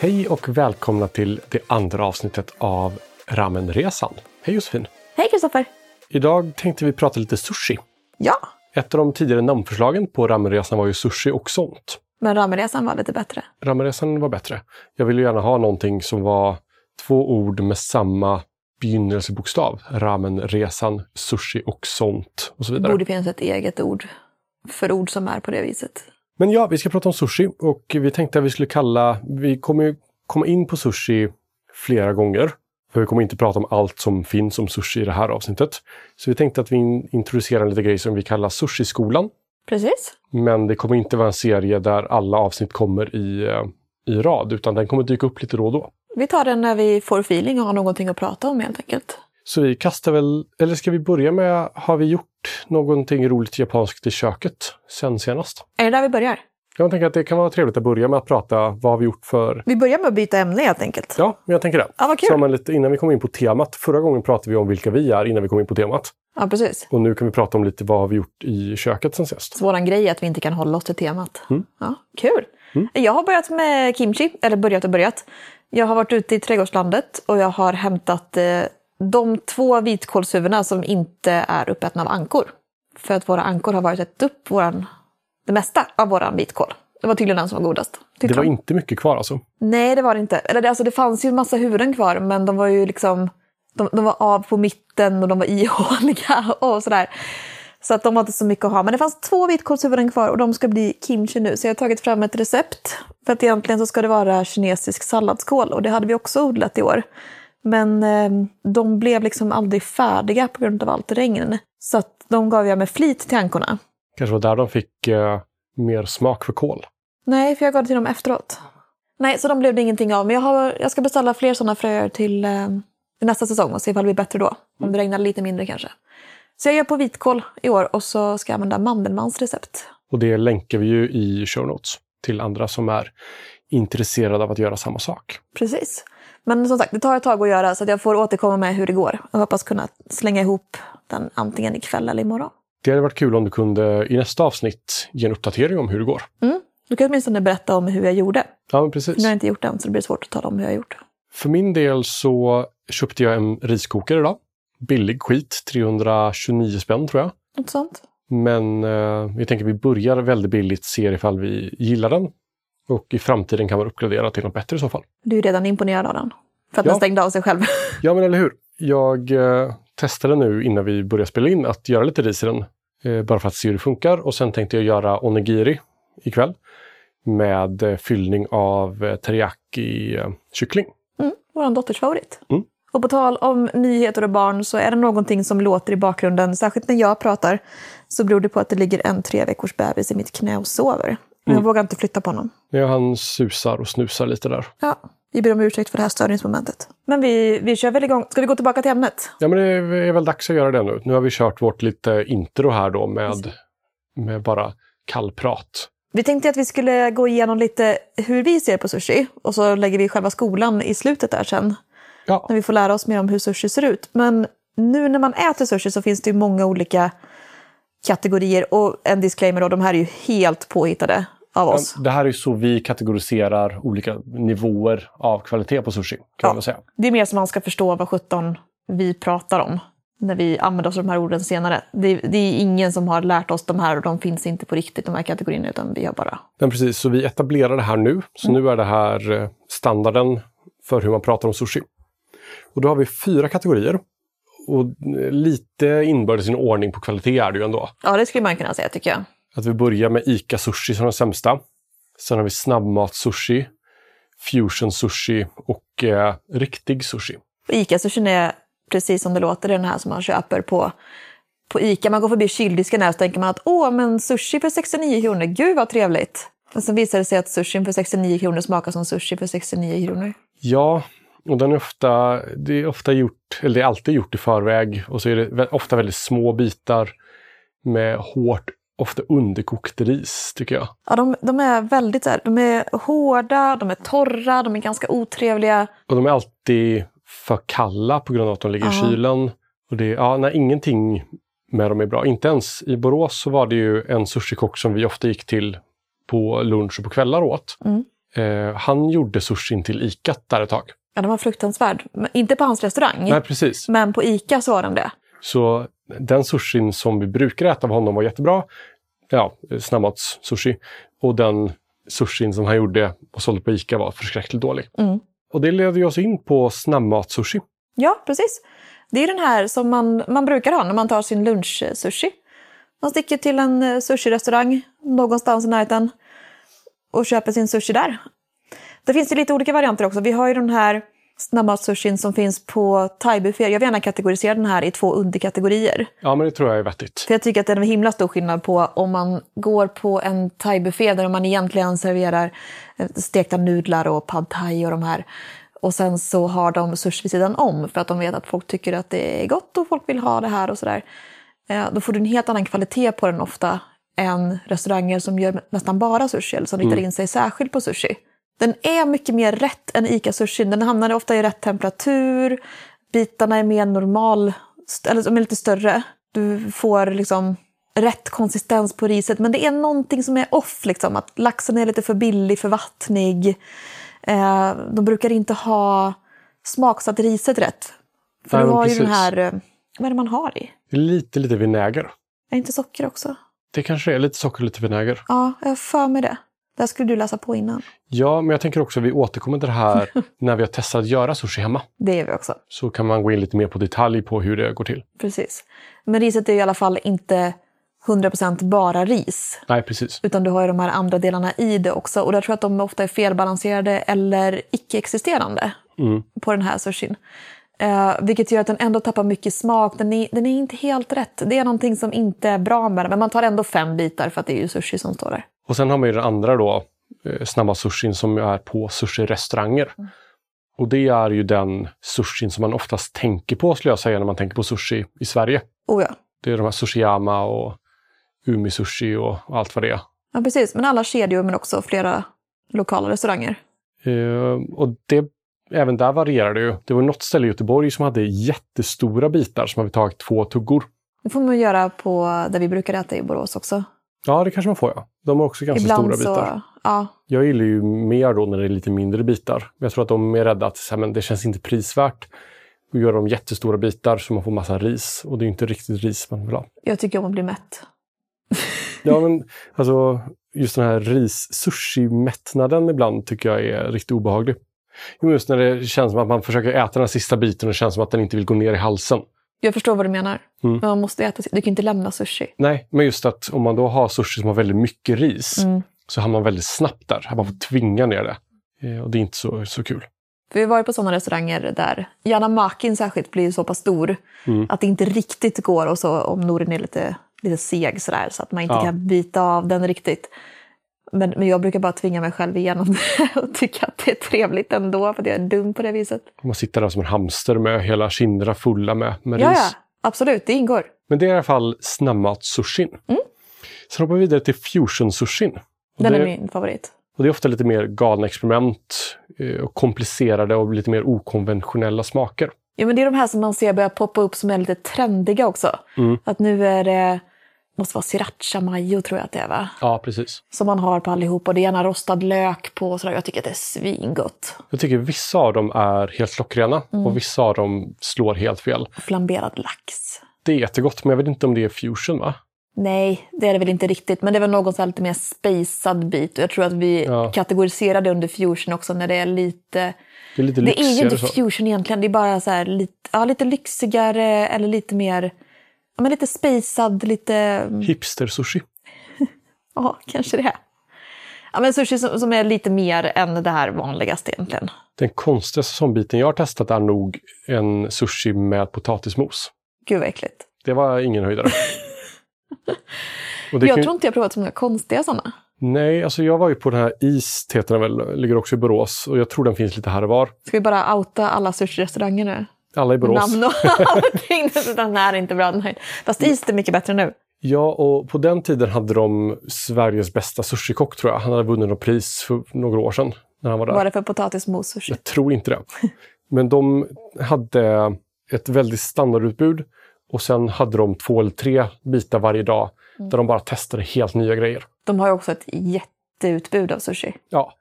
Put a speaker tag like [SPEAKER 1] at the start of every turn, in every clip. [SPEAKER 1] Hej och välkomna till det andra avsnittet av Ramenresan. Hej Josefin!
[SPEAKER 2] Hej Kristoffer!
[SPEAKER 1] Idag tänkte vi prata lite sushi.
[SPEAKER 2] Ja,
[SPEAKER 1] Ett av de tidigare namnförslagen på Ramenresan var ju sushi och sånt.
[SPEAKER 2] men Ramenresan var lite bättre.
[SPEAKER 1] Ramenresan var bättre. Jag ville ju gärna ha någonting som var två ord med samma begynnelsebokstav. Ramenresan, sushi och sånt och så
[SPEAKER 2] Det
[SPEAKER 1] vidare.
[SPEAKER 2] borde finnas ett eget ord för ord som är på det viset.
[SPEAKER 1] Men ja, vi ska prata om sushi och vi tänkte att vi skulle kalla... Vi kommer ju komma in på sushi flera gånger. För vi kommer inte prata om allt som finns om sushi i det här avsnittet. Så vi tänkte att vi in- introducerar lite grejer som vi kallar Sushiskolan.
[SPEAKER 2] Precis.
[SPEAKER 1] Men det kommer inte vara en serie där alla avsnitt kommer i, eh, i rad, utan den kommer dyka upp lite då och då.
[SPEAKER 2] Vi tar den när vi får feeling och har någonting att prata om helt enkelt.
[SPEAKER 1] Så vi kastar väl... Eller ska vi börja med, har vi gjort någonting roligt japanskt i köket sen senast?
[SPEAKER 2] Är det där vi börjar?
[SPEAKER 1] Jag tänker att det kan vara trevligt att börja med att prata, vad har vi gjort för...
[SPEAKER 2] Vi börjar med att byta ämne helt enkelt.
[SPEAKER 1] Ja, men jag tänker det.
[SPEAKER 2] Ja, vad kul!
[SPEAKER 1] Som en lite, innan vi kom in på temat. Förra gången pratade vi om vilka vi är innan vi kom in på temat.
[SPEAKER 2] Ja, precis.
[SPEAKER 1] Och nu kan vi prata om lite vad har vi gjort i köket sen sist.
[SPEAKER 2] Så våran grej är att vi inte kan hålla oss till temat.
[SPEAKER 1] Mm.
[SPEAKER 2] Ja, kul! Jag har börjat med kimchi, eller börjat och börjat. Jag har varit ute i trädgårdslandet och jag har hämtat eh, de två vitkålshuvudena som inte är uppätna av ankor. För att våra ankor har varit ätit upp våran, det mesta av våran vitkål. Det var tydligen den som var godast.
[SPEAKER 1] Det
[SPEAKER 2] tyckte
[SPEAKER 1] var
[SPEAKER 2] de.
[SPEAKER 1] inte mycket kvar alltså.
[SPEAKER 2] Nej, det var det inte. Eller det, alltså, det fanns ju en massa huvuden kvar, men de var ju liksom... De, de var av på mitten och de var ihåliga och sådär. Så att de hade inte så mycket att ha. Men det fanns två vitkålshuvuden kvar och de ska bli kimchi nu. Så jag har tagit fram ett recept. För att egentligen så ska det vara kinesisk salladskål och det hade vi också odlat i år. Men eh, de blev liksom aldrig färdiga på grund av allt regn. Så att de gav jag med flit till ankorna.
[SPEAKER 1] Kanske var där de fick eh, mer smak för kål.
[SPEAKER 2] Nej, för jag gav det till dem efteråt. Nej, så de blev det ingenting av. Men jag, har, jag ska beställa fler sådana fröer till, eh, till nästa säsong och se ifall det blir bättre då. Om det regnar lite mindre kanske. Så jag gör på vitkål i år och så ska jag använda Mandelmans recept.
[SPEAKER 1] Och det länkar vi ju i show notes till andra som är intresserade av att göra samma sak.
[SPEAKER 2] Precis. Men som sagt, det tar ett tag att göra så att jag får återkomma med hur det går. Jag hoppas kunna slänga ihop den antingen ikväll eller imorgon.
[SPEAKER 1] Det hade varit kul om du kunde i nästa avsnitt ge en uppdatering om hur det går.
[SPEAKER 2] Du kan jag åtminstone berätta om hur jag gjorde.
[SPEAKER 1] Ja, men precis.
[SPEAKER 2] Nu har jag inte gjort det än så det blir svårt att tala om hur jag har gjort.
[SPEAKER 1] För min del så köpte jag en riskokare idag. Billig skit, 329 spänn tror jag.
[SPEAKER 2] Något sånt.
[SPEAKER 1] Men eh, jag tänker vi börjar väldigt billigt, ser ifall vi gillar den. Och i framtiden kan man uppgradera till något bättre i så fall.
[SPEAKER 2] Du är ju redan imponerad av den. För att
[SPEAKER 1] Ja.
[SPEAKER 2] den stängde av sig själv.
[SPEAKER 1] Ja, men eller hur. Jag eh, testade nu innan vi började spela in att göra lite ris i den. Eh, bara för att se hur det funkar. Och sen tänkte jag göra onigiri ikväll. Med eh, fyllning av eh, teriyaki-kyckling.
[SPEAKER 2] Mm, vår dotters favorit.
[SPEAKER 1] Mm.
[SPEAKER 2] Och på tal om nyheter och barn så är det någonting som låter i bakgrunden, särskilt när jag pratar, så beror det på att det ligger en tre veckors bebis i mitt knä och sover. Men jag vågar inte flytta på honom.
[SPEAKER 1] Ja, han susar och snusar lite där.
[SPEAKER 2] Ja, vi ber om ursäkt för det här störningsmomentet. Men vi, vi kör väl igång. Ska vi gå tillbaka till ämnet?
[SPEAKER 1] Ja, men det är väl dags att göra det nu. Nu har vi kört vårt lite intro här då med, med bara kallprat.
[SPEAKER 2] Vi tänkte att vi skulle gå igenom lite hur vi ser på sushi och så lägger vi själva skolan i slutet där sen.
[SPEAKER 1] Ja.
[SPEAKER 2] när vi får lära oss mer om hur sushi ser ut. Men nu när man äter sushi så finns det ju många olika kategorier. Och en disclaimer då, de här är ju helt påhittade av oss.
[SPEAKER 1] Ja, Det här är ju så vi kategoriserar olika nivåer av kvalitet på sushi. Kan man väl säga.
[SPEAKER 2] Det är mer som man ska förstå vad sjutton vi pratar om när vi använder oss av de här orden senare. Det, det är ingen som har lärt oss de här och de finns inte på riktigt, de här kategorierna, utan vi har bara...
[SPEAKER 1] Men precis, så vi etablerar det här nu. Så nu är det här eh, standarden för hur man pratar om sushi. Och då har vi fyra kategorier. Och eh, lite inbördes i en ordning på kvalitet är det ju ändå.
[SPEAKER 2] Ja, det skulle man kunna säga tycker jag.
[SPEAKER 1] Att vi börjar med ICA-sushi som den sämsta. Sen har vi snabbmat-sushi, fusion-sushi och eh, riktig sushi.
[SPEAKER 2] Och Ica-sushin är precis som det låter, det är den här som man köper på, på Ica. Man går förbi kyldisken här och så tänker man att åh, men sushi för 69 kronor, gud vad trevligt. Men sen visar det sig att sushin för 69 kronor smakar som sushi för 69 kronor.
[SPEAKER 1] Ja, och den är ofta, det är ofta gjort, eller det är alltid gjort i förväg. Och så är det vä- ofta väldigt små bitar med hårt, ofta underkokt ris, tycker jag.
[SPEAKER 2] Ja, de, de är väldigt så här, de är hårda, de är torra, de är ganska otrevliga.
[SPEAKER 1] Och de är alltid för kalla på grund av att de ligger i kylen. Och det, ja, nej, ingenting med dem är bra. Inte ens i Borås så var det ju en sushikock som vi ofta gick till på lunch och på kvällar åt.
[SPEAKER 2] Mm.
[SPEAKER 1] Eh, han gjorde sushin till ICAt där ett tag.
[SPEAKER 2] Ja, den var fruktansvärd. Men inte på hans restaurang,
[SPEAKER 1] Nej, precis.
[SPEAKER 2] men på ICA så var den det.
[SPEAKER 1] Så den sushin som vi brukar äta av honom var jättebra. Ja, snabbmats-sushi. Och den sushin som han gjorde och sålde på Ica var förskräckligt dålig.
[SPEAKER 2] Mm.
[SPEAKER 1] Och det leder ju oss in på snabbmats-sushi.
[SPEAKER 2] Ja, precis. Det är den här som man, man brukar ha när man tar sin lunchsushi. Man sticker till en eh, sushirestaurang någonstans i närheten och köper sin sushi där. Det finns ju lite olika varianter också. Vi har ju den här snabbmatssushin som finns på thaibufféer. Jag vill gärna kategorisera den här i två underkategorier.
[SPEAKER 1] Ja, men det tror jag är vettigt.
[SPEAKER 2] För jag tycker att det är en himla stor skillnad på om man går på en thaibuffé där man egentligen serverar eh, stekta nudlar och pad thai och de här. Och sen så har de sushi vid sidan om för att de vet att folk tycker att det är gott och folk vill ha det här och sådär. Eh, Då får du en helt annan kvalitet på den ofta än restauranger som gör nästan bara sushi eller som riktar in sig särskilt på sushi. Den är mycket mer rätt än ICA-sushin. Den hamnar ofta i rätt temperatur. Bitarna är mer normal, st- eller de är lite större. Du får liksom rätt konsistens på riset. Men det är någonting som är off. Liksom. Att laxen är lite för billig, för vattnig. Eh, de brukar inte ha smaksatt riset rätt. För
[SPEAKER 1] Nej,
[SPEAKER 2] du
[SPEAKER 1] men
[SPEAKER 2] har ju den
[SPEAKER 1] precis.
[SPEAKER 2] här... eh, Vad är det man har i?
[SPEAKER 1] Lite, lite vinäger.
[SPEAKER 2] Är inte socker också?
[SPEAKER 1] Det kanske är lite socker och lite vinäger.
[SPEAKER 2] Ja, jag har för mig det. Det här skulle du läsa på innan.
[SPEAKER 1] Ja, men jag tänker också att vi återkommer till det här när vi har testat att göra sushi hemma.
[SPEAKER 2] Det gör vi också.
[SPEAKER 1] Så kan man gå in lite mer på detalj på hur det går till.
[SPEAKER 2] Precis. Men riset är i alla fall inte 100% bara ris.
[SPEAKER 1] Nej, precis.
[SPEAKER 2] Utan du har ju de här andra delarna i det också. Och där tror jag att de ofta är felbalanserade eller icke-existerande
[SPEAKER 1] Mm.
[SPEAKER 2] på den här sushin. Eh, vilket gör att den ändå tappar mycket smak. Den är, den är inte helt rätt. Det är någonting som inte är bra med den. Men man tar ändå fem bitar för att det är ju sushi som står där.
[SPEAKER 1] Och sen har man ju den andra då, eh, snabba sushin som är på sushi-restauranger. Och det är ju den sushin som man oftast tänker på, skulle jag säga, när man tänker på sushi i Sverige.
[SPEAKER 2] Oh ja.
[SPEAKER 1] Det är de här sushiyama och umi-sushi och allt vad det är.
[SPEAKER 2] ja, precis. Men alla kedjor men också flera lokala restauranger.
[SPEAKER 1] Eh, och det, även där varierar det ju. Det var något ställe i Göteborg som hade jättestora bitar som hade tagit två tuggor.
[SPEAKER 2] Det får man göra på där vi brukar äta i Borås också.
[SPEAKER 1] Ja, det kanske man får ja. De har också ganska stora bitar.
[SPEAKER 2] så... Ja,
[SPEAKER 1] Jag gillar ju mer då när det är lite mindre bitar. Men Jag tror att de är rädda att så här, men det känns inte prisvärt att göra dem jättestora bitar så man får massa ris. Och det är ju inte riktigt ris man vill ha.
[SPEAKER 2] jag tycker om att bli mätt.
[SPEAKER 1] Ja, men alltså just den här ris-sushi-mättnaden ibland tycker jag är riktigt obehaglig. Jo, Just när det känns som att man försöker äta den sista biten och det känns som att den inte vill gå ner i halsen.
[SPEAKER 2] Jag förstår vad du menar.
[SPEAKER 1] Mm.
[SPEAKER 2] Men man måste äta, du kan inte lämna sushi.
[SPEAKER 1] Nej, men just att om man då har sushi som har väldigt mycket ris
[SPEAKER 2] Mm.
[SPEAKER 1] så hamnar man väldigt snabbt där. Man får tvinga ner det. Eh, Och det är inte så, så kul.
[SPEAKER 2] För vi har varit på sådana restauranger där Janamakin särskilt blir så pass stor
[SPEAKER 1] Mm.
[SPEAKER 2] att det inte riktigt går och så om Norin är lite, lite seg sådär så att man inte
[SPEAKER 1] Ja.
[SPEAKER 2] kan bita av den riktigt. Men, men jag brukar bara tvinga mig själv igenom det och tycka att det är trevligt ändå för att jag är dum på det viset.
[SPEAKER 1] Man sitter där som en hamster med hela kinderna fulla med, med
[SPEAKER 2] Ja, ja,
[SPEAKER 1] ris.
[SPEAKER 2] absolut, det ingår.
[SPEAKER 1] Men det är i alla fall snabbmatssushin.
[SPEAKER 2] Mm.
[SPEAKER 1] Sen hoppar vi vidare till fusionsushin. Och
[SPEAKER 2] Den
[SPEAKER 1] det,
[SPEAKER 2] är min favorit.
[SPEAKER 1] och det är ofta lite mer galna experiment, eh, och komplicerade och lite mer okonventionella smaker.
[SPEAKER 2] Ja, men det är de här som man ser börja poppa upp som är lite trendiga också.
[SPEAKER 1] Mm.
[SPEAKER 2] Att nu är det, måste vara sriracha mayo tror jag att det är va?
[SPEAKER 1] Ja, precis.
[SPEAKER 2] Som man har på allihopa. Det är gärna rostad lök på och sådär. Jag tycker att det är svingott.
[SPEAKER 1] Jag tycker vissa av dem är helt klockrena
[SPEAKER 2] Mm.
[SPEAKER 1] och vissa av dem slår helt fel.
[SPEAKER 2] Flamberad lax.
[SPEAKER 1] Det är jättegott, men jag vet inte om det är fusion, va?
[SPEAKER 2] Nej, det är det väl inte riktigt. Men det är väl någon så här lite mer spejsad bit. Och jag tror att vi
[SPEAKER 1] Ja.
[SPEAKER 2] kategoriserar det under fusion också när det är lite...
[SPEAKER 1] Det är lite
[SPEAKER 2] Det är ju
[SPEAKER 1] lyxigare.
[SPEAKER 2] inte
[SPEAKER 1] så.
[SPEAKER 2] fusion egentligen. Det är bara så här lite, ja, lite lyxigare eller lite mer... Ja, men lite spejsad, lite...
[SPEAKER 1] Hipster-sushi.
[SPEAKER 2] Ja, kanske det. Ja, men sushi som, som är lite mer än det här vanligaste egentligen.
[SPEAKER 1] Den konstigaste sånbiten jag har testat är nog en sushi med potatismos.
[SPEAKER 2] Gud vad äckligt.
[SPEAKER 1] Det var ingen höjdare. Och det
[SPEAKER 2] Jag
[SPEAKER 1] kan ju-
[SPEAKER 2] tror inte jag provat så många konstiga sådana.
[SPEAKER 1] Nej, alltså jag var ju på den här East, heter den väl, ligger också i Borås. Och jag tror den finns lite här och var.
[SPEAKER 2] Ska vi bara outa alla sushi-restauranger nu?
[SPEAKER 1] Alla i Borås.
[SPEAKER 2] Namn och allting. Den här är inte bra. Den här. Fast is är mycket bättre nu.
[SPEAKER 1] Ja, och på den tiden hade de Sveriges bästa sushikock tror jag. Han hade vunnit något pris för några år sedan när han var där.
[SPEAKER 2] Var det för potatismos-sushi?
[SPEAKER 1] Jag tror inte det. Men de hade ett väldigt standardutbud och sen hade de två eller tre bitar varje dag
[SPEAKER 2] Mm.
[SPEAKER 1] där de bara testade helt nya grejer.
[SPEAKER 2] De har ju också ett jätteutbud av sushi.
[SPEAKER 1] Ja,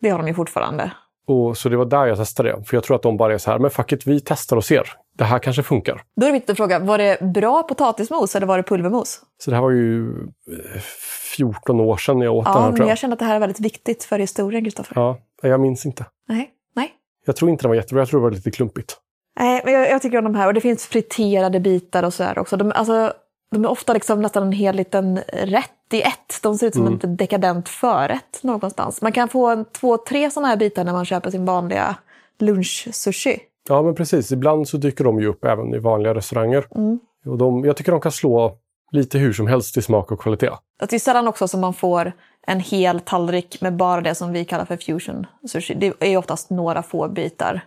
[SPEAKER 2] Det har de ju fortfarande.
[SPEAKER 1] och så det var där jag testade det. För jag tror att de bara är så här, men fuck it, vi testar och ser. Det här kanske funkar.
[SPEAKER 2] Då är det viktigt att fråga, var det bra potatismos eller var det pulvermos?
[SPEAKER 1] Så det här var ju eh, 14 år sedan jag åt den
[SPEAKER 2] Ja,
[SPEAKER 1] här
[SPEAKER 2] men
[SPEAKER 1] tror
[SPEAKER 2] jag
[SPEAKER 1] jag.
[SPEAKER 2] känner att det här är väldigt viktigt för historien, Kristoffer.
[SPEAKER 1] Ja, jag minns inte.
[SPEAKER 2] Nej, nej.
[SPEAKER 1] Jag tror inte den var jättebra, jag tror det var lite klumpigt.
[SPEAKER 2] Nej, men jag, jag tycker om de här. Och det finns friterade bitar och sådär också. De, alltså, de är ofta liksom nästan en hel liten rätt i ett. De ser ut som
[SPEAKER 1] Mm.
[SPEAKER 2] en liten dekadent förrätt någonstans. Man kan få en, två, tre sådana här bitar när man köper sin vanliga lunchsushi.
[SPEAKER 1] Ja, men precis. Ibland så dyker de ju upp även i vanliga restauranger.
[SPEAKER 2] Mm.
[SPEAKER 1] Och de, jag tycker de kan slå lite hur som helst i smak och kvalitet.
[SPEAKER 2] Att det är sällan också som man får en hel tallrik med bara det som vi kallar för fusion sushi. Det är oftast några få bitar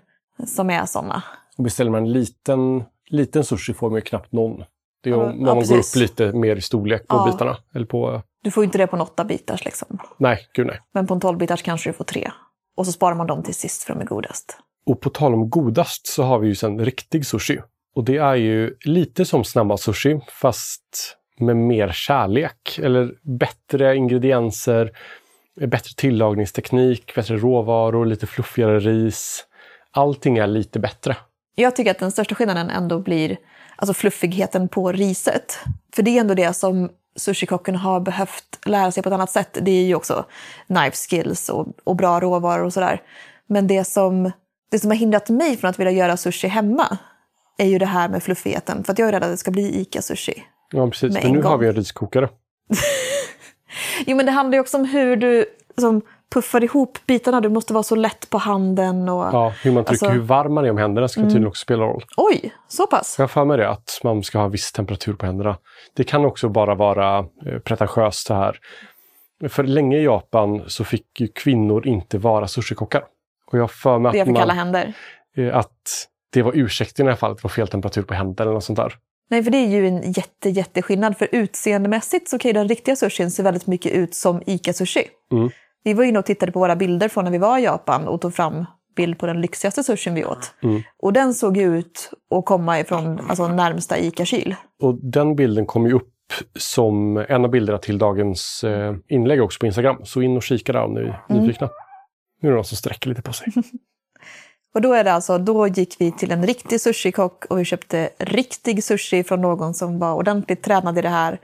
[SPEAKER 2] som är sådana.
[SPEAKER 1] Och beställer man en liten, liten sushi får man ju knappt någon. Det är
[SPEAKER 2] Ja,
[SPEAKER 1] om
[SPEAKER 2] men-
[SPEAKER 1] när
[SPEAKER 2] ja,
[SPEAKER 1] man går
[SPEAKER 2] precis.
[SPEAKER 1] upp lite mer i storlek på
[SPEAKER 2] Ja.
[SPEAKER 1] bitarna. Eller på,
[SPEAKER 2] Du får ju inte det på en åtta bitars liksom.
[SPEAKER 1] nej, gud nej.
[SPEAKER 2] Men på en 12 bitars kanske du får tre. Och så sparar man dem till sist för de är godast.
[SPEAKER 1] Och på tal om godast så har vi ju sen riktig sushi. Och det är ju lite som snabba sushi fast med mer kärlek. Eller bättre ingredienser, bättre tillagningsteknik, bättre råvaror, lite fluffigare ris. Allting är lite bättre.
[SPEAKER 2] Jag tycker att den största skillnaden ändå blir alltså fluffigheten på riset. För det är ändå det som sushikocken har behövt lära sig på ett annat sätt. Det är ju också knife skills och, och bra råvaror och sådär. Men det som, det som har hindrat mig från att vilja göra sushi hemma är ju det här med fluffigheten. För att jag är rädd att det ska bli ICA-sushi.
[SPEAKER 1] Ja, precis.
[SPEAKER 2] Med
[SPEAKER 1] Men
[SPEAKER 2] en
[SPEAKER 1] nu
[SPEAKER 2] gång.
[SPEAKER 1] har vi en riskokare.
[SPEAKER 2] Jo, men det handlar ju också om hur du liksom, puffar ihop bitarna. Du måste vara så lätt på handen och...
[SPEAKER 1] Ja, hur man trycker,
[SPEAKER 2] Alltså- Mm.
[SPEAKER 1] hur varm man är om händerna ska tydligen också spela roll.
[SPEAKER 2] Oj, så pass?
[SPEAKER 1] Jag har för mig det, att man ska ha en viss temperatur på händerna. Det kan också bara vara eh, pretentiöst det här. För länge i Japan så fick ju kvinnor inte vara sushikockar. Och jag har för mig
[SPEAKER 2] Det jag
[SPEAKER 1] att,
[SPEAKER 2] fick kalla
[SPEAKER 1] man,
[SPEAKER 2] händer.
[SPEAKER 1] eh, att det var ursäkten i alla fall, att det var fel temperatur på händerna eller något sånt där.
[SPEAKER 2] Nej, för det är ju en jätte, jätteskillnad. För utseendemässigt så kan ju den riktiga sushin se väldigt mycket ut som ICA-sushi.
[SPEAKER 1] Mm.
[SPEAKER 2] Vi var inne och tittade på våra bilder från när vi var i Japan och tog fram bild på den lyxigaste sushin vi åt.
[SPEAKER 1] Mm.
[SPEAKER 2] Och den såg ju ut att komma ifrån alltså, närmsta ICA-kyl.
[SPEAKER 1] Och den bilden kom ju upp som en av bilderna till dagens eh, inlägg också på Instagram. Så in och kika där om ni är
[SPEAKER 2] Mm.
[SPEAKER 1] nyfikna. Nu är det någon som sträcker lite på sig.
[SPEAKER 2] Och då är det alltså, då gick vi till en riktig sushikock och vi köpte riktig sushi från någon som var ordentligt tränad i det här.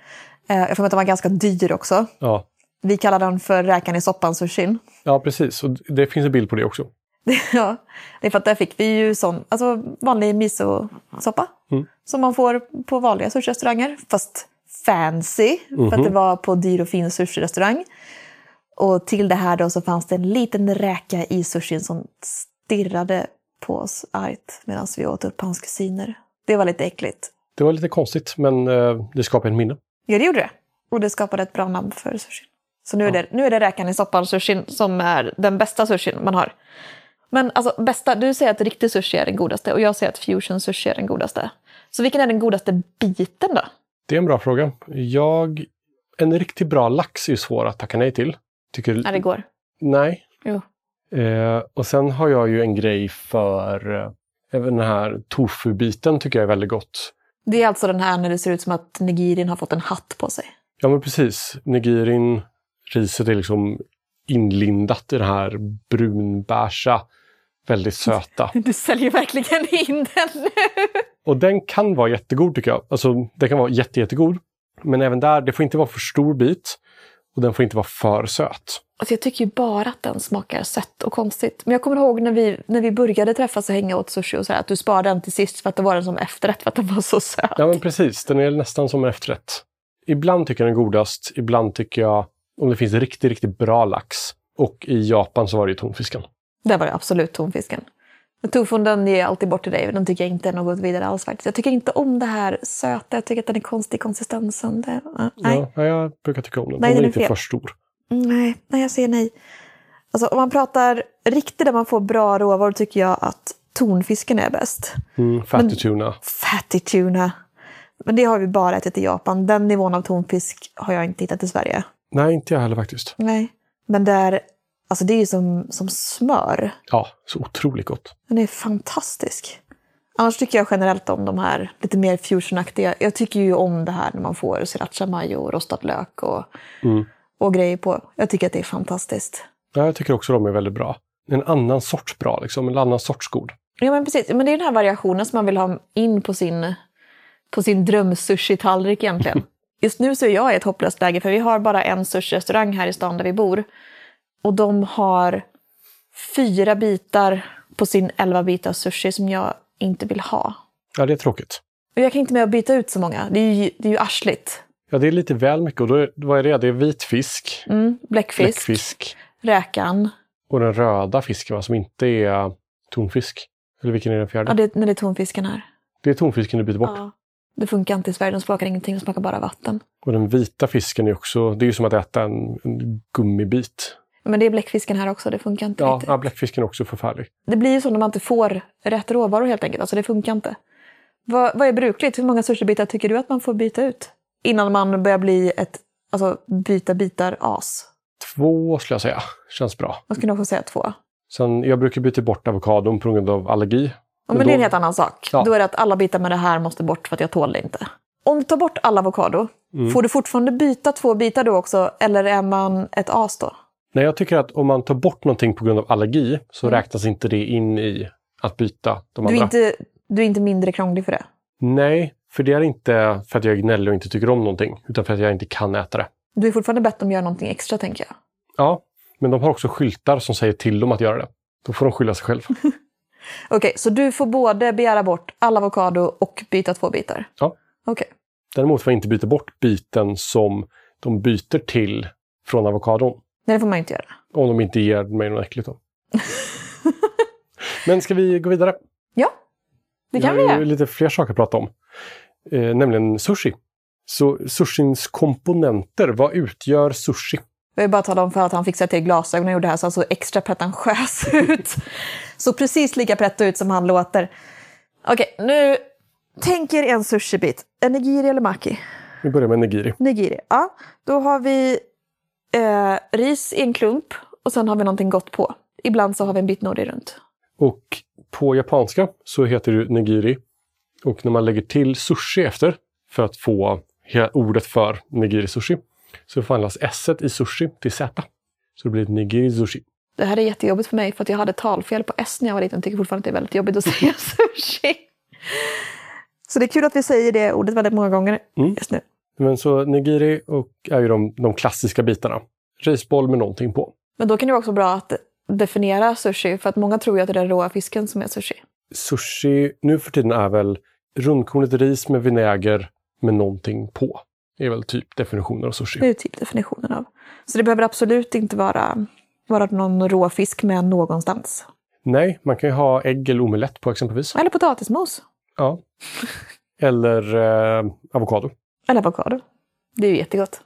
[SPEAKER 2] Eh, Jag får med att den var ganska dyr också.
[SPEAKER 1] Ja,
[SPEAKER 2] Vi kallar den för räkan i soppan-sushin.
[SPEAKER 1] ja precis. Och det finns en bild på det också.
[SPEAKER 2] Ja, det är för att där fick vi ju sån, alltså vanlig miso-soppa.
[SPEAKER 1] Mm.
[SPEAKER 2] Som man får på vanliga sushirestauranger. Fast fancy, för att det var på dyr och fin sushirestaurang. Och till det här då så fanns det en liten räka i sushin som stirrade på oss argt medan vi åt upp hans kusiner. Det var lite äckligt.
[SPEAKER 1] Det var lite konstigt, men eh, det skapar ett minne.
[SPEAKER 2] Ja, det gjorde det. Och det skapade ett bra namn för sushin. Så nu är det, nu är det räkan i soppan-sushin som är den bästa sushin man har. Men alltså bästa, du säger att riktig sushi är den godaste och jag säger att fusion sushi är den godaste. Så vilken är den godaste biten då?
[SPEAKER 1] Det är en bra fråga. Jag, en riktigt bra lax är ju svår att tacka nej till. Tycker,
[SPEAKER 2] När det går.
[SPEAKER 1] Nej.
[SPEAKER 2] Jo.
[SPEAKER 1] Eh, och sen har jag ju en grej för eh, även den här tofu-biten tycker jag är väldigt gott.
[SPEAKER 2] Det är alltså den här när det ser ut som att nigirin har fått en hatt på sig.
[SPEAKER 1] Ja men precis, nigirin, riset är liksom inlindat i den här brunbärsa, väldigt
[SPEAKER 2] Mm.
[SPEAKER 1] söta.
[SPEAKER 2] Du säljer verkligen in den nu!
[SPEAKER 1] Och den kan vara jättegod tycker jag. Alltså den kan vara jätte, jättegod. Men även där, det får inte vara för stor bit. Och den får inte vara för söt.
[SPEAKER 2] Alltså jag tycker ju bara att den smakar sött och konstigt. Men jag kommer ihåg när vi, när vi började träffas och hänga åt sushi och så här, att du sparade den till sist för att det var den som efterrätt för att den var så söt.
[SPEAKER 1] Ja men precis, den är nästan som en efterrätt. Ibland tycker jag den är godast, ibland tycker jag om det finns riktigt, riktigt bra lax. Och i Japan så var det ju tonfisken.
[SPEAKER 2] Där var det absolut tonfisken. Men Tofun den ger jag alltid bort till dig. Den tycker jag inte är något vidare alls faktiskt. Jag tycker inte om det här söta. Jag tycker att den är konstig i konsistensen. Det, ja, nej.
[SPEAKER 1] Ja, ja, jag brukar tycka om den.
[SPEAKER 2] Nej,
[SPEAKER 1] den är
[SPEAKER 2] den är
[SPEAKER 1] inte
[SPEAKER 2] fel.
[SPEAKER 1] för stor.
[SPEAKER 2] nej, nej, jag säger nej. Alltså om man pratar riktigt där man får bra råvaror tycker jag att tonfisken är bäst.
[SPEAKER 1] Mm, fatty tuna.
[SPEAKER 2] Fatty tuna. Men det har vi bara ätit i Japan. Den nivån av tonfisk har jag inte hittat i Sverige.
[SPEAKER 1] Nej, inte jag heller faktiskt.
[SPEAKER 2] Nej. Men där Alltså det är ju som, som smör.
[SPEAKER 1] Ja, så otroligt gott.
[SPEAKER 2] Den är fantastisk. Annars tycker jag generellt om de här lite mer fusionaktiga. Jag tycker ju om det här när man får sriracha mayo och rostad lök och,
[SPEAKER 1] Mm.
[SPEAKER 2] och grejer på. Jag tycker att det är fantastiskt.
[SPEAKER 1] Ja, jag tycker också de är väldigt bra. En annan sorts bra, liksom. En annan sorts god.
[SPEAKER 2] Ja men precis, men det är den här variationen som man vill ha in på sin, på sin drömsushi-tallrik egentligen. Just nu så är jag i ett hopplöst läge för vi har bara en sushi-restaurang här i stan där vi bor. Och de har fyra bitar på sin elva bitar sushi som jag inte vill ha.
[SPEAKER 1] Ja, det är tråkigt.
[SPEAKER 2] Och jag kan inte med att byta ut så många, det är ju, det är ju arsligt.
[SPEAKER 1] Ja, det är lite väl mycket. Och då är, vad är det? Det är vit fisk,
[SPEAKER 2] Mm, bläckfisk,
[SPEAKER 1] bläckfisk
[SPEAKER 2] räkan,
[SPEAKER 1] och den röda fisken, va, som inte är eh, tonfisk. Eller vilken är den fjärde?
[SPEAKER 2] ja, det, nej, det är tonfisken här.
[SPEAKER 1] Det är tonfisken du byter bort.
[SPEAKER 2] Ja. Det funkar inte i Sverige, de smakar ingenting, de smakar bara vatten.
[SPEAKER 1] Och den vita fisken är också, det är ju som att äta en, en gummibit.
[SPEAKER 2] Men det är bläckfisken här också, det funkar inte
[SPEAKER 1] Ja,
[SPEAKER 2] riktigt.
[SPEAKER 1] ja, bläckfisken är också förfärlig.
[SPEAKER 2] Det blir ju så när man inte får rätt råvaror helt enkelt. Alltså det funkar inte. Vad, vad är brukligt? Hur många sushibitar tycker du att man får byta ut? Innan man börjar bli ett alltså, byta bitar-as.
[SPEAKER 1] Två skulle jag säga, känns bra.
[SPEAKER 2] Man skulle nog få säga två.
[SPEAKER 1] Sen, jag brukar byta bort avokadon på grund av allergi.
[SPEAKER 2] Ja, men
[SPEAKER 1] Men
[SPEAKER 2] det är en
[SPEAKER 1] då-
[SPEAKER 2] helt annan sak.
[SPEAKER 1] Ja.
[SPEAKER 2] Då är det att alla bitar med det här måste bort för att jag tål det inte. Om du tar bort all avokado,
[SPEAKER 1] Mm.
[SPEAKER 2] får du fortfarande byta två bitar då också? Eller är man ett as då?
[SPEAKER 1] Nej, jag tycker att om man tar bort någonting på grund av allergi så räknas inte det in i att byta de
[SPEAKER 2] Mm. Du är,
[SPEAKER 1] andra.
[SPEAKER 2] inte, du är inte mindre krånglig för det.
[SPEAKER 1] Nej, för det är inte för att jag är gnällig och inte tycker om någonting, utan för att jag inte kan äta det.
[SPEAKER 2] Du är fortfarande bett om att göra någonting extra tänker jag.
[SPEAKER 1] Ja, men de har också skyltar som säger till dem att göra det. Då får de skylla sig själv.
[SPEAKER 2] Okej, så du får både begära bort all avokado och byta två bitar?
[SPEAKER 1] Ja.
[SPEAKER 2] Okej.
[SPEAKER 1] Däremot får jag inte byta bort biten som de byter till från avokadon.
[SPEAKER 2] Nej, det får man ju inte göra.
[SPEAKER 1] Om de inte ger mig något äckligt då. Men ska vi gå vidare?
[SPEAKER 2] Ja, det kan vi
[SPEAKER 1] har ju
[SPEAKER 2] göra.
[SPEAKER 1] lite fler saker att prata om. Eh, nämligen sushi. Så sushins komponenter, vad utgör sushi?
[SPEAKER 2] Jag vill bara tala om för att han fixade till glasögonen och gjorde det här så han såg extra pretentiös ut. Så precis lika pretto ut som han låter. Okej, nu tänk er en sushibit. En nigiri eller maki?
[SPEAKER 1] Vi börjar med nigiri.
[SPEAKER 2] Nigiri, ja. Då har vi eh, ris i en klump och sen har vi någonting gott på. Ibland så har vi en bit nori runt.
[SPEAKER 1] Och på japanska så heter det nigiri. Och när man lägger till sushi efter för att få he- ordet för nigiri sushi så förvandlas s i sushi till z. Så det blir nigiri sushi.
[SPEAKER 2] Det här är jättejobbigt för mig för att jag hade talfel på S när jag var liten. Tycker fortfarande att det är väldigt jobbigt att säga sushi. Så det är kul att vi säger det ordet väldigt många gånger
[SPEAKER 1] Mm.
[SPEAKER 2] just nu.
[SPEAKER 1] Men så nigiri och är ju de, de klassiska bitarna. Risboll med någonting på.
[SPEAKER 2] Men då kan det vara också bra att definiera sushi för att många tror ju att det är den råa fisken som är sushi.
[SPEAKER 1] Sushi nu för tiden är väl rundkornet ris med vinäger med någonting på. Det är väl typ definitioner av
[SPEAKER 2] Det är
[SPEAKER 1] sushi.
[SPEAKER 2] ju typ definitionen av. Så det behöver absolut inte vara, vara någon råfisk med någonstans.
[SPEAKER 1] Nej, man kan ju ha ägg eller omelett på exempelvis.
[SPEAKER 2] Eller potatismos.
[SPEAKER 1] Ja. Eller eh, avokado.
[SPEAKER 2] Eller avokado. Det är ju jättegott.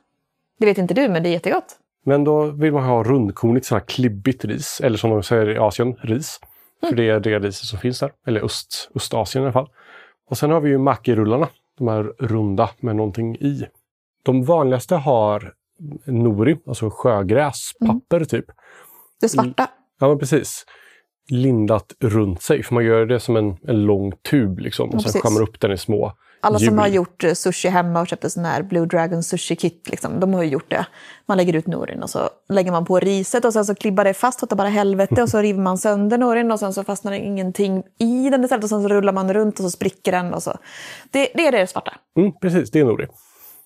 [SPEAKER 2] Det vet inte du, men det är jättegott.
[SPEAKER 1] Men då vill man ha rundkornigt, sådant här klibbigt ris. Eller som de säger i Asien, ris. För det är det riset som finns där. Eller öst, Östasien i alla fall. Och sen har vi ju makirullarna. De här runda med någonting i. De vanligaste har nori, alltså
[SPEAKER 2] Mm.
[SPEAKER 1] sjögräspapper typ.
[SPEAKER 2] Det svarta.
[SPEAKER 1] Ja, men precis. Lindat runt sig. För man gör det som en, en lång tub liksom. Och
[SPEAKER 2] Ja,
[SPEAKER 1] sen
[SPEAKER 2] precis.
[SPEAKER 1] skär man upp den i små
[SPEAKER 2] Alla
[SPEAKER 1] hjul.
[SPEAKER 2] som har gjort eh, sushi hemma och köpt en sån här Blue Dragon sushi-kit, liksom, de har ju gjort det. Man lägger ut norin och så lägger man på riset och sen så klibbar det fast åt det bara helvete och så river man sönder norin och sen så fastnar det ingenting i den istället och sen så rullar man runt och så spricker den och så. Det, det är det svarta.
[SPEAKER 1] Mm, precis, det är nori.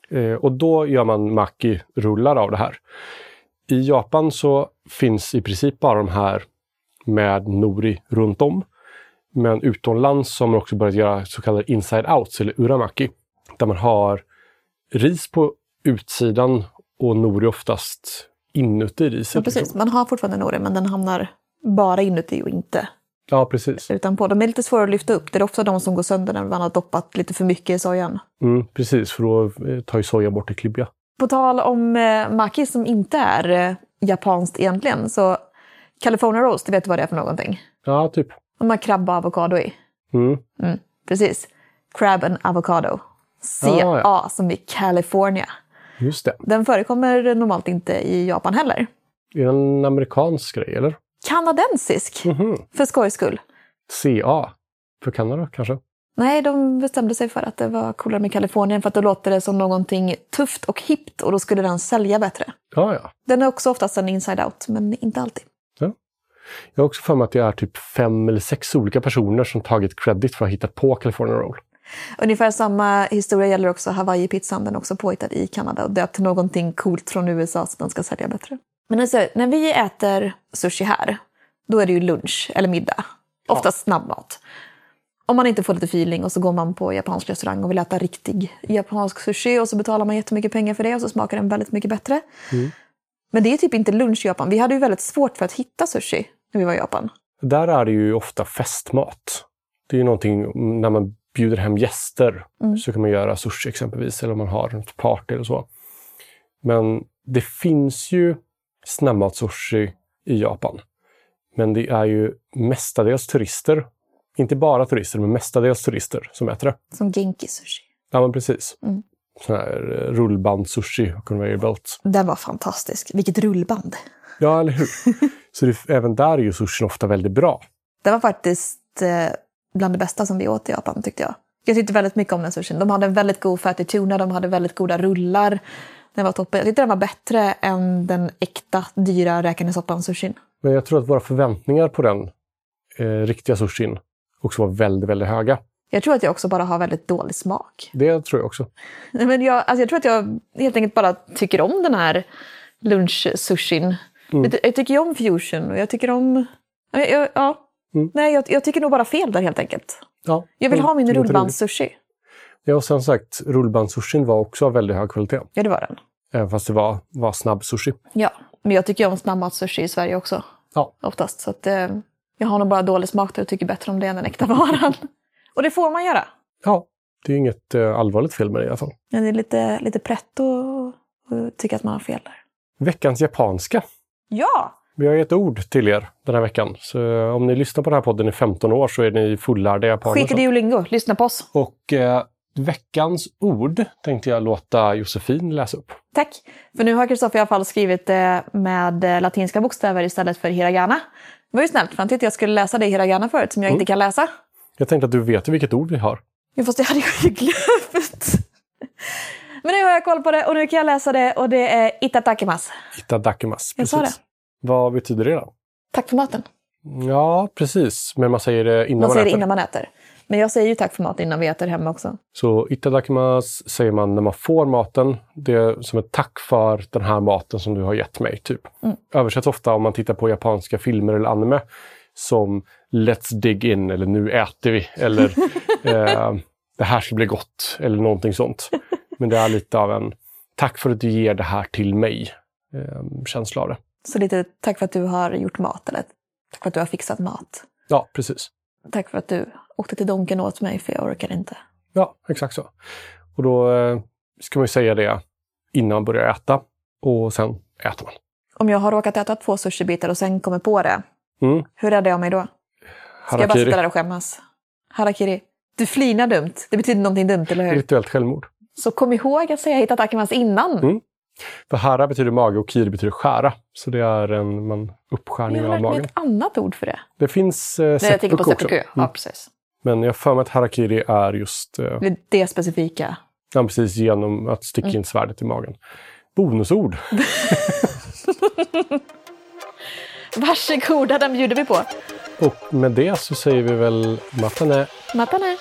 [SPEAKER 1] Eh, och då gör man maki-rullar av det här. I Japan så finns i princip bara de här med nori runt om. Men utomlands har man också börjat göra så kallade inside-outs, eller uramaki. Där man har ris på utsidan och nori oftast inuti riset.
[SPEAKER 2] Ja, precis.
[SPEAKER 1] liksom.
[SPEAKER 2] Man har fortfarande norin men den hamnar bara inuti och inte
[SPEAKER 1] Ja, precis.
[SPEAKER 2] utanpå. De är lite svåra att lyfta upp. Det är ofta de som går sönder när man har doppat lite för mycket i sojan.
[SPEAKER 1] Mm, precis, för då eh, tar ju soja bort det klibbiga.
[SPEAKER 2] På tal om eh, maki som inte är eh, japanskt egentligen, så California roast, du vet vad det är för någonting?
[SPEAKER 1] Ja, typ.
[SPEAKER 2] De har krabba och avokado i.
[SPEAKER 1] Mm.
[SPEAKER 2] Mm, precis. Crab and avocado. CA
[SPEAKER 1] Ah,
[SPEAKER 2] som i California.
[SPEAKER 1] Just det.
[SPEAKER 2] Den förekommer normalt inte i Japan heller.
[SPEAKER 1] Är det en amerikansk grej, eller?
[SPEAKER 2] Kanadensisk,
[SPEAKER 1] Mhm.
[SPEAKER 2] för skojs skull.
[SPEAKER 1] CA. För Kanada, kanske?
[SPEAKER 2] Nej, de bestämde sig för att det var coolare med Kalifornien för att då låter det som någonting tufft och hippt och då skulle den sälja bättre.
[SPEAKER 1] Ja, ja.
[SPEAKER 2] Den är också oftast en inside out, men inte alltid.
[SPEAKER 1] Jag har också för mig att det är typ fem eller sex olika personer som tagit credit för att ha hittat på California Roll.
[SPEAKER 2] Ungefär samma historia gäller också Hawaii-pizzan. Den är också påhittad i Kanada och döpt till någonting coolt från USA så den ska sälja bättre. Men alltså, när vi äter sushi här, då är det ju lunch eller middag. Oftast snabbmat. Om man inte får lite feeling och så går man på japansk restaurang och vill äta riktig japansk sushi och så betalar man jättemycket pengar för det och så smakar den väldigt mycket bättre. Men det är typ inte lunch i Japan. Vi hade ju väldigt svårt för att hitta sushi när vi var i Japan.
[SPEAKER 1] Där är det ju ofta festmat. Det är ju någonting mm, när man bjuder hem gäster så kan man göra sushi exempelvis eller om man har ett party eller så. Men det finns ju snabbmatsushi i Japan. Men det är ju mestadels turister. Inte bara turister, men mestadels turister som äter det.
[SPEAKER 2] Som genki sushi.
[SPEAKER 1] Ja, men precis.
[SPEAKER 2] Mm.
[SPEAKER 1] Sån här eh, rullbandssushi och conveyor belt.
[SPEAKER 2] Den var fantastisk. Vilket rullband!
[SPEAKER 1] Ja, eller hur? så det, även där är ju sushin ofta väldigt bra.
[SPEAKER 2] Den var faktiskt eh, bland det bästa som vi åt i Japan tyckte jag. Jag tyckte väldigt mycket om den sushin. De hade en väldigt god fattig tuna, de hade väldigt goda rullar. Den var toppen. Jag tyckte den var bättre än den äkta, dyra räkanesoppan-sushin.
[SPEAKER 1] Men jag tror att våra förväntningar på den eh, riktiga sushin också var väldigt, väldigt höga.
[SPEAKER 2] Jag tror att jag också bara har väldigt dålig smak.
[SPEAKER 1] Det tror jag också.
[SPEAKER 2] Nej, Men jag, alltså jag tror att jag helt enkelt bara tycker om den här lunch-sushin.
[SPEAKER 1] Mm.
[SPEAKER 2] Jag, ty- jag tycker ju om fusion och jag tycker om... Jag, jag, ja.
[SPEAKER 1] Mm.
[SPEAKER 2] Nej, jag, jag tycker nog bara fel där helt enkelt.
[SPEAKER 1] Ja, Mm.
[SPEAKER 2] Jag vill
[SPEAKER 1] det
[SPEAKER 2] ha min
[SPEAKER 1] låter roligt.
[SPEAKER 2] rullbandssushi.
[SPEAKER 1] Ja, och sen sagt, rullbandssushin var också av väldigt hög kvalitet.
[SPEAKER 2] Ja, det var den.
[SPEAKER 1] Även fast det var, var snabb sushi.
[SPEAKER 2] Ja, men jag tycker ju om snabbmatssushi i Sverige också.
[SPEAKER 1] Ja.
[SPEAKER 2] Oftast. Så att, eh, jag har nog bara dålig smak där och tycker bättre om det än den äkta varan. och det får man göra.
[SPEAKER 1] Ja, det är inget eh, allvarligt fel med det i alla fall.
[SPEAKER 2] Men det är lite, lite pretto och tycka att man har fel där.
[SPEAKER 1] Veckans japanska.
[SPEAKER 2] Ja!
[SPEAKER 1] Vi har gett ord till er den här veckan. Så om ni lyssnar på den här podden i 15 år så är ni fullärda japaner.
[SPEAKER 2] Skit i Duolingo, lyssna på oss.
[SPEAKER 1] Och eh, veckans ord tänkte jag låta Josefin läsa upp.
[SPEAKER 2] Tack! För nu har Kristoffer i alla fall skrivit det med eh, latinska bokstäver istället för hiragana. Det var ju snällt, för han tyckte jag skulle läsa det i hiragana förut som jag inte kan läsa.
[SPEAKER 1] Jag tänkte att du vet ju vilket ord vi har.
[SPEAKER 2] Ja, fast det hade jag ju glömt. Men nu har jag koll på det och nu kan jag läsa det och det är itatakimas.
[SPEAKER 1] Itadakimas.
[SPEAKER 2] Jag sa
[SPEAKER 1] Precis. Vad betyder det då?
[SPEAKER 2] Tack för maten.
[SPEAKER 1] Ja, precis. Men man säger det innan man,
[SPEAKER 2] Man säger det
[SPEAKER 1] äter.
[SPEAKER 2] innan man äter. Men jag säger ju tack för maten innan vi äter hemma också.
[SPEAKER 1] Så itadakimas säger man när man får maten. Det är som ett tack för den här maten som du har gett mig. typ.
[SPEAKER 2] Mm.
[SPEAKER 1] Översätts ofta om man tittar på japanska filmer eller anime som Let's dig in eller Nu äter vi eller eh, Det här ska bli gott eller någonting sånt. Men det är lite av en tack för att du ger det här till mig eh, känsla av det.
[SPEAKER 2] Så lite tack för att du har gjort mat eller tack för att du har fixat mat.
[SPEAKER 1] Ja, precis.
[SPEAKER 2] Tack för att du åkte till Donken åt mig för jag orkar inte.
[SPEAKER 1] Ja, exakt så. Och då eh, ska man ju säga det innan man börjar äta och sen äter man.
[SPEAKER 2] Om jag har råkat äta två sushibitar och sen kommer på det,
[SPEAKER 1] Mm.
[SPEAKER 2] hur räddar jag mig då? Ska jag bara sitta där och skämmas? Harakiri. Du flinar dumt. Det betyder någonting dumt, eller hur?
[SPEAKER 1] Rituellt självmord.
[SPEAKER 2] Så kom ihåg att säga hitatakimas innan.
[SPEAKER 1] Mm. För hara betyder mage och kiri betyder skära. Så det är en man,
[SPEAKER 2] Jag
[SPEAKER 1] uppskärning
[SPEAKER 2] har
[SPEAKER 1] av
[SPEAKER 2] lärt mig
[SPEAKER 1] magen.
[SPEAKER 2] ett annat ord för det.
[SPEAKER 1] Det finns eh,
[SPEAKER 2] Nej, jag tänker på
[SPEAKER 1] seppuku också.
[SPEAKER 2] seppuku. Ja,
[SPEAKER 1] Mm.
[SPEAKER 2] precis.
[SPEAKER 1] Men jag har för mig att harakiri är just eh,
[SPEAKER 2] Det är Det specifika.
[SPEAKER 1] ja, precis genom att sticka
[SPEAKER 2] Mm.
[SPEAKER 1] in svärdet i magen. Bonusord.
[SPEAKER 2] Varsågoda, den bjuder vi på.
[SPEAKER 1] Och med det så säger vi väl matane.
[SPEAKER 2] Matane!